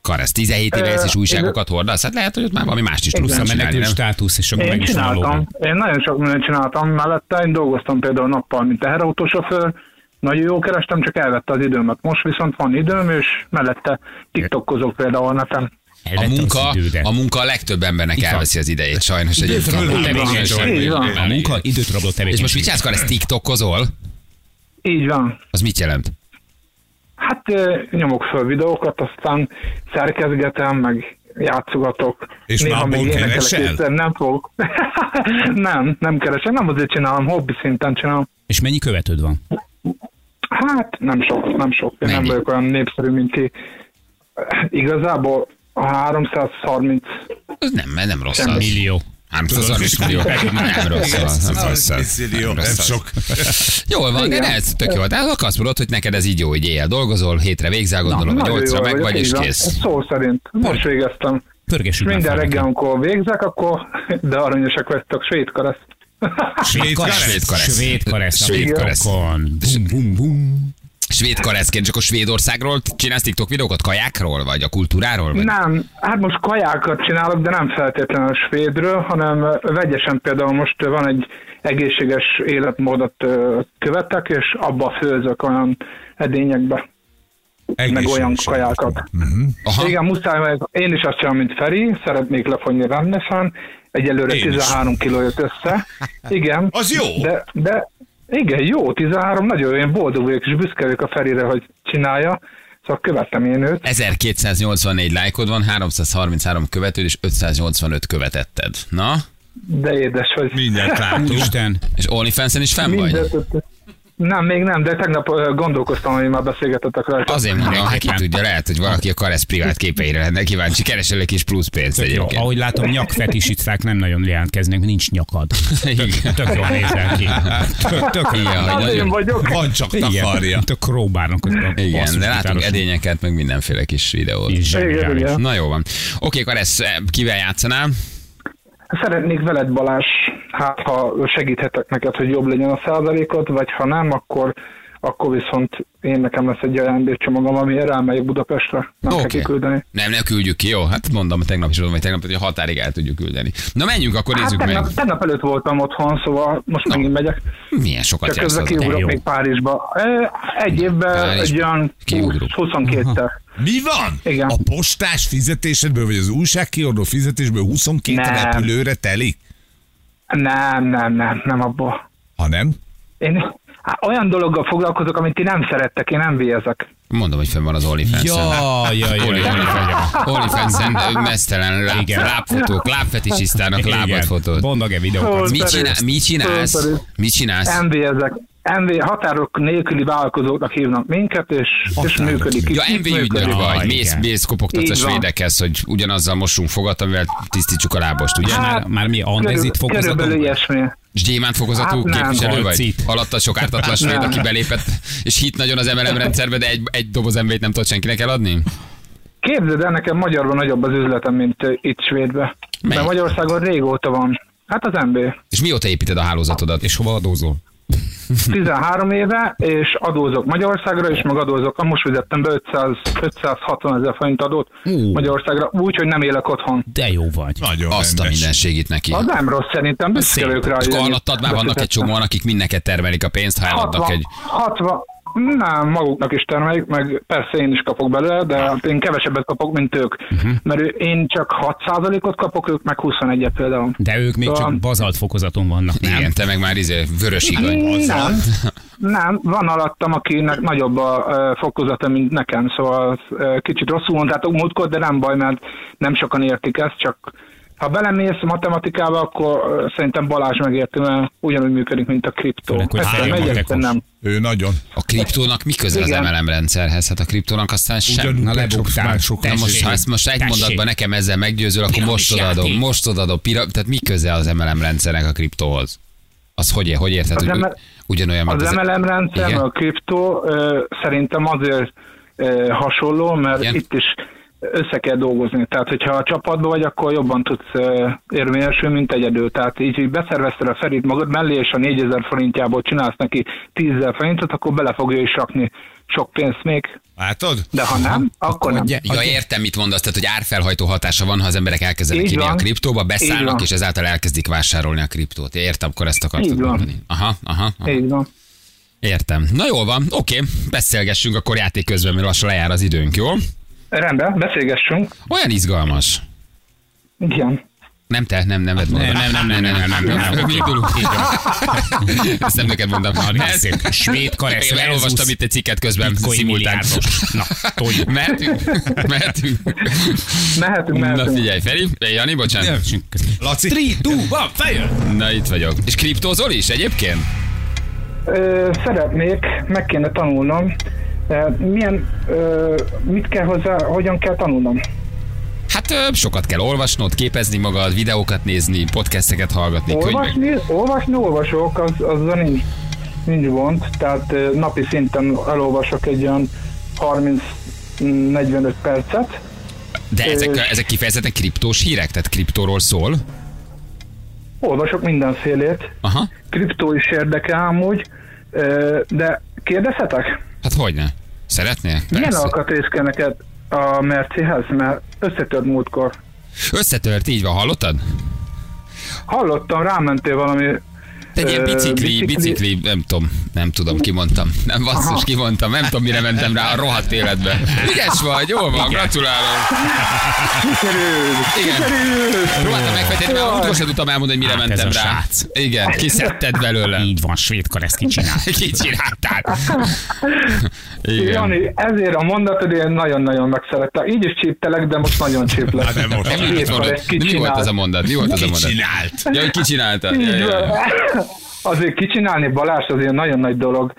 Speaker 2: Karesz, 17 éve
Speaker 5: Ö,
Speaker 2: ez is újságokat hordasz? Hát lehet, hogy ott már valami mást is tudsz
Speaker 4: Plusz a
Speaker 2: csinálni,
Speaker 4: menekült
Speaker 2: nem?
Speaker 4: státusz, és akkor meg
Speaker 5: Én
Speaker 4: is van a
Speaker 5: csináltam,
Speaker 4: logó.
Speaker 5: én nagyon sok mindent csináltam mellette, én dolgoztam például nappal, mint teherautósofőr, nagyon jó kerestem, csak elvette az időmet. Most viszont van időm, és mellette tiktokkozok például a neten.
Speaker 2: A
Speaker 4: Elvette az
Speaker 2: munka,
Speaker 4: idődet.
Speaker 2: a munka a legtöbb embernek elveszi az idejét, sajnos egyébként.
Speaker 3: Így van.
Speaker 2: A tevékenység.
Speaker 5: Így van.
Speaker 4: a munka időt rabló
Speaker 2: És most mit
Speaker 4: tevékenység.
Speaker 2: csinálsz, Karesz, tiktokozol?
Speaker 5: Így van.
Speaker 2: Az mit jelent?
Speaker 5: Hát ö, nyomok föl videókat, aztán szerkezgetem, meg játszogatok.
Speaker 3: És már abból
Speaker 5: énekelek
Speaker 3: keresel?
Speaker 5: éppen, Nem fogok. nem, nem keresek, nem azért csinálom, hobbi szinten csinálom.
Speaker 4: És mennyi követőd van?
Speaker 5: Hát nem sok, nem sok. Én nem
Speaker 2: Mennyi?
Speaker 5: vagyok olyan népszerű, mint ti. Igazából a 330
Speaker 2: Ez nem, nem rossz
Speaker 5: Semmi.
Speaker 2: az.
Speaker 4: Millió.
Speaker 2: 330 millió. Nem rossz az. Nem rossz az.
Speaker 3: Jó,
Speaker 2: rossz
Speaker 3: nem
Speaker 2: az.
Speaker 3: sok.
Speaker 2: Jól van, de
Speaker 5: Igen.
Speaker 2: ez tök jó. De akkor azt mondod, hogy neked ez így jó, hogy éjjel dolgozol, hétre végzel, gondolom, hogy
Speaker 5: Nagyon
Speaker 2: nyolcra
Speaker 5: jól
Speaker 2: meg vagy,
Speaker 5: így
Speaker 2: és
Speaker 5: van.
Speaker 2: kész. Hm.
Speaker 5: Szó szerint. Most végeztem. És
Speaker 4: Pörgessük már
Speaker 5: minden
Speaker 4: fel
Speaker 5: reggel,
Speaker 4: nekem.
Speaker 5: amikor végzek, akkor de aranyosak vagytok, svéd karesz.
Speaker 3: Svéd
Speaker 4: Karesz.
Speaker 3: karesz.
Speaker 2: Svéd karesz.
Speaker 4: Svéd karesz.
Speaker 2: Svéd karesz.
Speaker 4: Bum, bum, bum.
Speaker 2: Svéd kareszként, csak a Svédországról csinálsz TikTok videókat, kajákról, vagy a kultúráról? Vagy?
Speaker 5: Nem, hát most kajákat csinálok, de nem feltétlenül a svédről, hanem ö, vegyesen például most ö, van egy egészséges életmódot ö, követek, és abba főzök olyan edényekbe, meg olyan
Speaker 3: Egészséges
Speaker 5: kajákat.
Speaker 3: Mhm.
Speaker 2: Aha.
Speaker 5: Igen, muszáj, mert én is azt csinálom, mint Feri, szeretnék lefogyni rendesen, egyelőre
Speaker 3: Én is.
Speaker 5: 13 kiló jött össze. Igen.
Speaker 3: Az jó.
Speaker 5: De, de igen, jó, 13, nagyon jó, én boldog vagyok, és büszke vagyok a Ferire, hogy csinálja, szóval követtem én őt.
Speaker 2: 1284 lájkod van, 333 követőd és 585 követetted. Na?
Speaker 5: De édes vagy.
Speaker 3: Mindent látunk.
Speaker 4: Úristen,
Speaker 2: És OnlyFans-en is fenn vagy?
Speaker 5: Mindent, Nem, még nem, de tegnap ö, gondolkoztam, hogy már beszélgetettek rajta.
Speaker 2: Azért mondom, hát ki tudja, lehet, hogy valaki a Karesz privát képeire lenne kíváncsi, keresel egy kis plusz pénzt
Speaker 4: Jó,
Speaker 2: egyébként.
Speaker 4: ahogy látom, nyakfetisisták nem nagyon jelentkeznek, nincs nyakad. Tök, tök jól nézel ki. Tök, tök
Speaker 2: Igen,
Speaker 4: jól.
Speaker 2: hogy
Speaker 5: Hát én
Speaker 2: nagyon,
Speaker 5: vagyok.
Speaker 3: Van csak takarja.
Speaker 4: Igen, tök próbálnak.
Speaker 2: igen, de látunk edényeket, meg mindenféle kis videót.
Speaker 5: Igen,
Speaker 4: edényeket.
Speaker 5: igen.
Speaker 2: Na jó van. Oké, Karesz, kivel játszanál?
Speaker 5: Szeretnék veled Balázs, hát ha segíthetek neked, hogy jobb legyen a százalékot, vagy ha nem, akkor akkor viszont én nekem lesz egy ajándékcsomagom, amire rámegyek Budapestre. Nem okay. kell
Speaker 2: Oké.
Speaker 5: kiküldeni.
Speaker 2: Nem, ne küldjük ki, jó? Hát mondom, tegnap is mondom, hogy tegnap, hogy a határig el tudjuk küldeni. Na menjünk, akkor
Speaker 5: Hát
Speaker 2: nézzük meg.
Speaker 5: tegnap, tegnap előtt voltam otthon, szóval most
Speaker 2: Na.
Speaker 5: megint megyek.
Speaker 2: Milyen sokat
Speaker 5: Csak közben
Speaker 2: játszol.
Speaker 4: jó.
Speaker 5: kiugrok még Párizsba. Ö, Egy évben
Speaker 2: Párizsba.
Speaker 5: egy olyan
Speaker 2: Kiugrok.
Speaker 5: 22-tel.
Speaker 3: Mi van?
Speaker 5: Igen.
Speaker 3: A postás fizetésedből, vagy az újságkiadó fizetésből 22
Speaker 5: Nem.
Speaker 3: repülőre telik?
Speaker 5: Nem, nem, nem, nem abból.
Speaker 3: Ha nem?
Speaker 5: Én hát olyan dologgal foglalkozok, amit ti nem szerettek, én nem vélyezek.
Speaker 2: Mondom, hogy fenn van az OnlyFans-en. Hát
Speaker 4: Jaj, jaj, jaj, jaj.
Speaker 2: OnlyFans-en ö, mesztelen láb, lábfotók, lábfetisisztának lábat fotóz.
Speaker 4: Bondag-e videókat?
Speaker 5: Hol-
Speaker 2: Hát Mit, csinál, mit csinálsz?
Speaker 5: Fölperül.
Speaker 2: Mit csinálsz?
Speaker 5: MV-ezek. MV határok nélküli vállalkozóknak hívnak minket, és, és működik.
Speaker 2: Ja,
Speaker 5: Itt
Speaker 2: MV
Speaker 5: működik.
Speaker 2: ügynök vagy,
Speaker 4: igen.
Speaker 2: mész, mész kopogtatsz a
Speaker 5: Így van.
Speaker 2: svédekhez, hogy ugyanazzal mosunk fogat, amivel tisztítsuk a lábost, ugye?
Speaker 4: Ja, már, már mi andezit fokozatunk?
Speaker 5: Körülbelül ilyesmi.
Speaker 2: És gyémánt fokozatú hát
Speaker 5: Hát nem.
Speaker 2: képviselő vagy?
Speaker 4: Kalcit.
Speaker 2: Alatta sok ártatlan svéd,
Speaker 5: Nem.
Speaker 2: aki belépett, és hit nagyon az MLM rendszerbe, de egy, egy doboz mv nem tudod senkinek eladni?
Speaker 5: Képzeld el, nekem magyarban nagyobb az üzletem, mint ö, itt Svédben.
Speaker 2: Melyik? Hm.
Speaker 5: De Magyarországon régóta van. Hát az MB.
Speaker 2: És mióta építed a hálózatodat?
Speaker 4: És hova adózol?
Speaker 5: 13 éve, és adózok Magyarországra, és meg adózok. Ah, Most fizettem be 500, 560 ezer forint adót
Speaker 4: Ú.
Speaker 5: Magyarországra, úgy, hogy nem élek otthon.
Speaker 4: De jó vagy.
Speaker 3: Nagyon
Speaker 2: Azt a
Speaker 3: rendes.
Speaker 2: minden segít neki.
Speaker 5: Az nem rossz szerintem, büszke
Speaker 4: Szép.
Speaker 5: vagyok rá.
Speaker 2: És
Speaker 5: hogy
Speaker 2: akkor
Speaker 5: ennyit
Speaker 2: alattad már vannak egy
Speaker 5: befizettem.
Speaker 2: csomóan, akik mindeket termelik a pénzt, ha eladnak
Speaker 5: 60,
Speaker 2: egy...
Speaker 5: 60, nem, maguknak is termeljük, meg persze én is kapok belőle, de én kevesebbet kapok, mint ők.
Speaker 4: Mhm.
Speaker 5: Uh-huh. Mert ő, én csak 6%-ot kapok, ők meg 21-et például.
Speaker 4: De ők még csak
Speaker 5: Van.
Speaker 4: bazalt fokozaton vannak, nem?
Speaker 2: Igen, te meg már izé, vörös igaz.
Speaker 5: Hát Nem, nem, van alattam, akinek nagyobb a ö, fokozata, mint nekem, szóval ö, kicsit rosszul mondtátok múltkor, de nem baj, mert nem sokan értik ezt, csak ha belemész matematikába, akkor ö, szerintem Balázs megérti, mert ugyanúgy működik, mint a kriptó.
Speaker 4: Főleg, hogy
Speaker 5: Egyszer
Speaker 4: fáj a
Speaker 5: megy, egyszer
Speaker 4: matekos.
Speaker 5: nem.
Speaker 3: Ő nagyon.
Speaker 2: A kriptónak mi köze az
Speaker 5: Igen.
Speaker 2: MLM rendszerhez? Hát a kriptónak aztán sem.
Speaker 3: Ugyanúgy
Speaker 2: Na
Speaker 3: csak
Speaker 2: lebuktál.
Speaker 3: már sok
Speaker 2: Te most,
Speaker 4: tessék.
Speaker 2: ha ezt most egy
Speaker 4: Tessék.
Speaker 2: mondatban nekem ezzel meggyőzöl, akkor
Speaker 4: Piramis
Speaker 2: most odadom,
Speaker 4: játék.
Speaker 2: most odadom. Pira, tehát mi köze az MLM rendszernek a kriptóhoz? Az hogy, hogy érted,
Speaker 5: Az
Speaker 2: hogy
Speaker 5: ML
Speaker 2: ugyanolyan, mint
Speaker 5: Az MLM rendszer,
Speaker 2: Igen.
Speaker 5: meg a kriptó ö, szerintem azért ö, hasonló, mert
Speaker 2: Igen.
Speaker 5: itt is össze kell dolgozni. Tehát, hogyha a csapatban vagy, akkor jobban tudsz ö, érvényesülni, mint egyedül. Tehát így, hogy beszervezted a Ferit magad mellé, és a 4000 forintjából csinálsz neki 10.000 forintot, akkor bele fogja is rakni sok pénzt még,
Speaker 3: Látod?
Speaker 5: de ha nem, akkor nem.
Speaker 2: Ja, értem, mit mondasz, tehát, hogy árfelhajtó hatása van, ha az emberek elkezdenek
Speaker 5: Így
Speaker 2: írni a
Speaker 5: van.
Speaker 2: kriptóba,
Speaker 5: Így
Speaker 2: beszállnak,
Speaker 5: van.
Speaker 2: és ezáltal elkezdik vásárolni a kriptót. Értem, akkor ezt akartad
Speaker 5: Így van.
Speaker 2: mondani. Aha, aha, aha.
Speaker 5: Így van.
Speaker 2: Értem. Na jól van, oké, beszélgessünk akkor játék közben, mert lassan lejár az időnk, jó?
Speaker 5: Rendben, beszélgessünk.
Speaker 2: Olyan izgalmas.
Speaker 5: Igen.
Speaker 2: Nem te, nem, nem, nem,
Speaker 4: Nem, nem, nem, nem, nem, nem, nem, nem, nem.
Speaker 2: Indulunk. Ezt nem neked mondtam.
Speaker 4: Na, szép. Svéd karesz
Speaker 2: Én
Speaker 4: versus
Speaker 2: elolvastam itt egy cikket közben,
Speaker 4: Bitcoin
Speaker 2: szimultán.
Speaker 4: milliárdos. Na, toljuk.
Speaker 2: Mehetünk, mehetünk.
Speaker 5: Mehetünk,
Speaker 2: Na
Speaker 5: mehetünk.
Speaker 2: figyelj, Feri, Jani, bocsánat.
Speaker 3: Laci,
Speaker 4: 2, 1, fejön!
Speaker 2: Na itt vagyok. És kriptózol is egyébként?
Speaker 5: Ö, szeretnék, meg kéne tanulnom. Ö, milyen, ö, mit kell hozzá, hogyan kell tanulnom?
Speaker 2: Hát ö, sokat kell olvasnod, képezni magad, videókat nézni, podcasteket hallgatni, könyvek.
Speaker 5: Olvasni, olvasni olvasok, az, azzal nincs, nincs gond. Tehát ö, napi szinten elolvasok egy olyan 30-45 percet.
Speaker 2: De ezek,
Speaker 5: Ö.
Speaker 2: ezek kifejezetten kriptós hírek, tehát kriptóról szól.
Speaker 5: Olvasok mindenfélét.
Speaker 2: Aha,
Speaker 5: Kriptó is érdekel amúgy, ö, de kérdezhetek?
Speaker 2: hát hogyne. Szeretnél?
Speaker 5: Milyen
Speaker 2: Persze.
Speaker 5: alkatrész kell neked a mercihez? Mert összetört múltkor.
Speaker 2: Összetört, így van, hallottad?
Speaker 5: Hallottam, rámentél valami
Speaker 2: Egy ilyen
Speaker 5: Ö,
Speaker 2: bicikli,
Speaker 5: bicikli-
Speaker 2: bicikli, nem tudom, nem tudom, kimondtam. Nem basszus, kimondtam, nem tudom, mire mentem rá a rohadt életbe. Ügyes vagy, jól van, gratulálok. Igen. Próbáltam megfejteni, mert
Speaker 5: Jaj.
Speaker 2: úgy sem tudtam elmondani, hogy mire
Speaker 4: Hát ez
Speaker 2: mentem
Speaker 4: a
Speaker 2: rá.
Speaker 4: srác.
Speaker 2: Igen, kiszedted belőle.
Speaker 4: Így van, svéd karesz kicsinál.
Speaker 2: Kicsináltál. Igen.
Speaker 5: Jani, ezért a mondatod én nagyon-nagyon megszerettem. Így is csíptelek, de most nagyon csíplek.
Speaker 3: Hát nem most.
Speaker 2: Nem, mi, volt,
Speaker 5: Két
Speaker 2: mondod?
Speaker 5: karek,
Speaker 2: De mi volt
Speaker 5: kicsinált.
Speaker 2: az a mondat? Mi volt az a
Speaker 3: mit
Speaker 2: mondat?
Speaker 3: csinált?
Speaker 2: Ja, hogy kicsinálta. Ja,
Speaker 5: Így
Speaker 2: ja, ja.
Speaker 5: van. Azért kicsinálni Balást azért nagyon nagy dolog.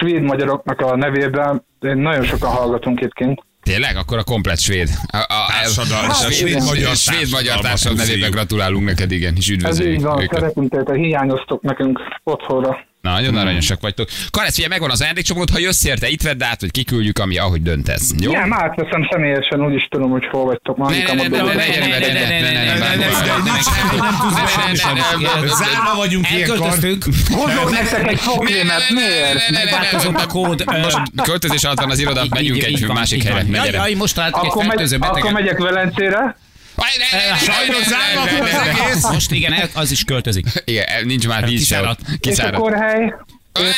Speaker 5: Svéd magyaroknak a nevében nagyon sokan hallgatunk itt
Speaker 2: Tényleg? Akkor a komplet svéd. A, a,
Speaker 3: Társadalom,
Speaker 2: a
Speaker 3: a
Speaker 2: svéd,
Speaker 3: svéd-magyar
Speaker 2: magyar svéd magyar
Speaker 3: társadalmat
Speaker 2: társadalom nevében
Speaker 3: üdvözöljük.
Speaker 2: gratulálunk neked, igen, és
Speaker 5: Ez így
Speaker 2: üdvözöljük
Speaker 5: van,
Speaker 2: őket.
Speaker 5: szeretünk tőletek, hiányoztok nekünk otthonra.
Speaker 2: Na, nagyon aranyosak vagytok. Karec, figyelj, megvan az ajándékcsomagod, ha jössz érte, itt vedd át, hogy kiküldjük, ami ahogy döntesz. Jó?
Speaker 5: Igen, már átveszem személyesen, úgy is tudom, hogy hol vagytok. Ma
Speaker 2: Ne, ne, ne, ne, ne, ne, ne, ne, ne, ne, ne, ne, ne, ne, ne, ne, ne, ne,
Speaker 3: Zárva vagyunk ilyenkor.
Speaker 4: Elköltöztünk.
Speaker 5: Hozok nektek egy problémát, miért?
Speaker 2: ne, ne, ne, ne,
Speaker 4: Megváltozott a kód.
Speaker 2: Most költözés alatt van az irodát, megyünk egy másik helyre. Ne
Speaker 4: Jaj,
Speaker 2: gyere.
Speaker 4: jaj, most találtuk egy
Speaker 5: Akkor, megy,
Speaker 4: fertőző
Speaker 5: akkor
Speaker 4: beteget.
Speaker 5: megyek Velencére.
Speaker 2: Aj, ne, ne, ne,
Speaker 3: Sajnos
Speaker 2: ne, ne,
Speaker 3: zárva
Speaker 2: ne, ne,
Speaker 3: volt az
Speaker 2: ne, ne.
Speaker 3: egész.
Speaker 4: Most igen, el- az is költözik.
Speaker 2: Igen, el- nincs már víz se
Speaker 4: Kiszáradt.
Speaker 2: ott.
Speaker 5: És a
Speaker 2: Kiszáradt.
Speaker 5: kórhely.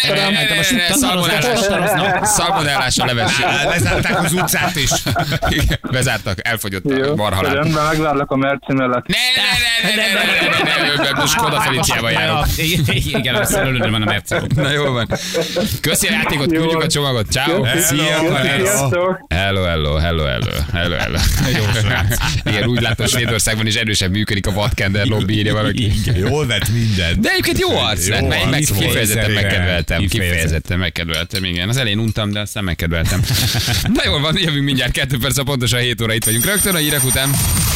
Speaker 2: Ne, ne, ne, ne, ne, Szalmonellás.
Speaker 4: Tanulás.
Speaker 2: Szalmonellás a levesség.
Speaker 3: Á, Lezárták az utcát is.
Speaker 2: Igen, Bezártak, elfogyott a
Speaker 5: Jó,
Speaker 2: marhalát.
Speaker 5: rendben, megvárlak a merci mellett.
Speaker 2: Ne, ne, ne, ne, ne, ne, ne, ne, ne, ne, most Skoda Feliciával járok.
Speaker 4: Igen, a szerelőre van a Mercedes.
Speaker 2: Na jól van. Köszi a játékot,
Speaker 5: Jó.
Speaker 2: küldjük a csomagot. Ciao.
Speaker 5: Köszi.
Speaker 3: Hello, hello.
Speaker 5: Sziasztok!
Speaker 2: Hello, hello, hello, hello, hello, hello. Jó srác. Igen, úgy látom, Svédországban is erősebb működik a vadkender lobby, írja valaki.
Speaker 3: Jól vett minden.
Speaker 2: De egyébként jó arc lett, meg, meg
Speaker 3: arc volt.
Speaker 2: kifejezetten
Speaker 3: Szerintem.
Speaker 2: megkedveltem,
Speaker 4: Kifejezetten.
Speaker 2: kifejezetten megkedveltem, igen. Az elején untam, de aztán megkedveltem. Na jól van, jövünk mindjárt, kettő perc a pontosan 7 óra itt vagyunk rögtön a hírek után.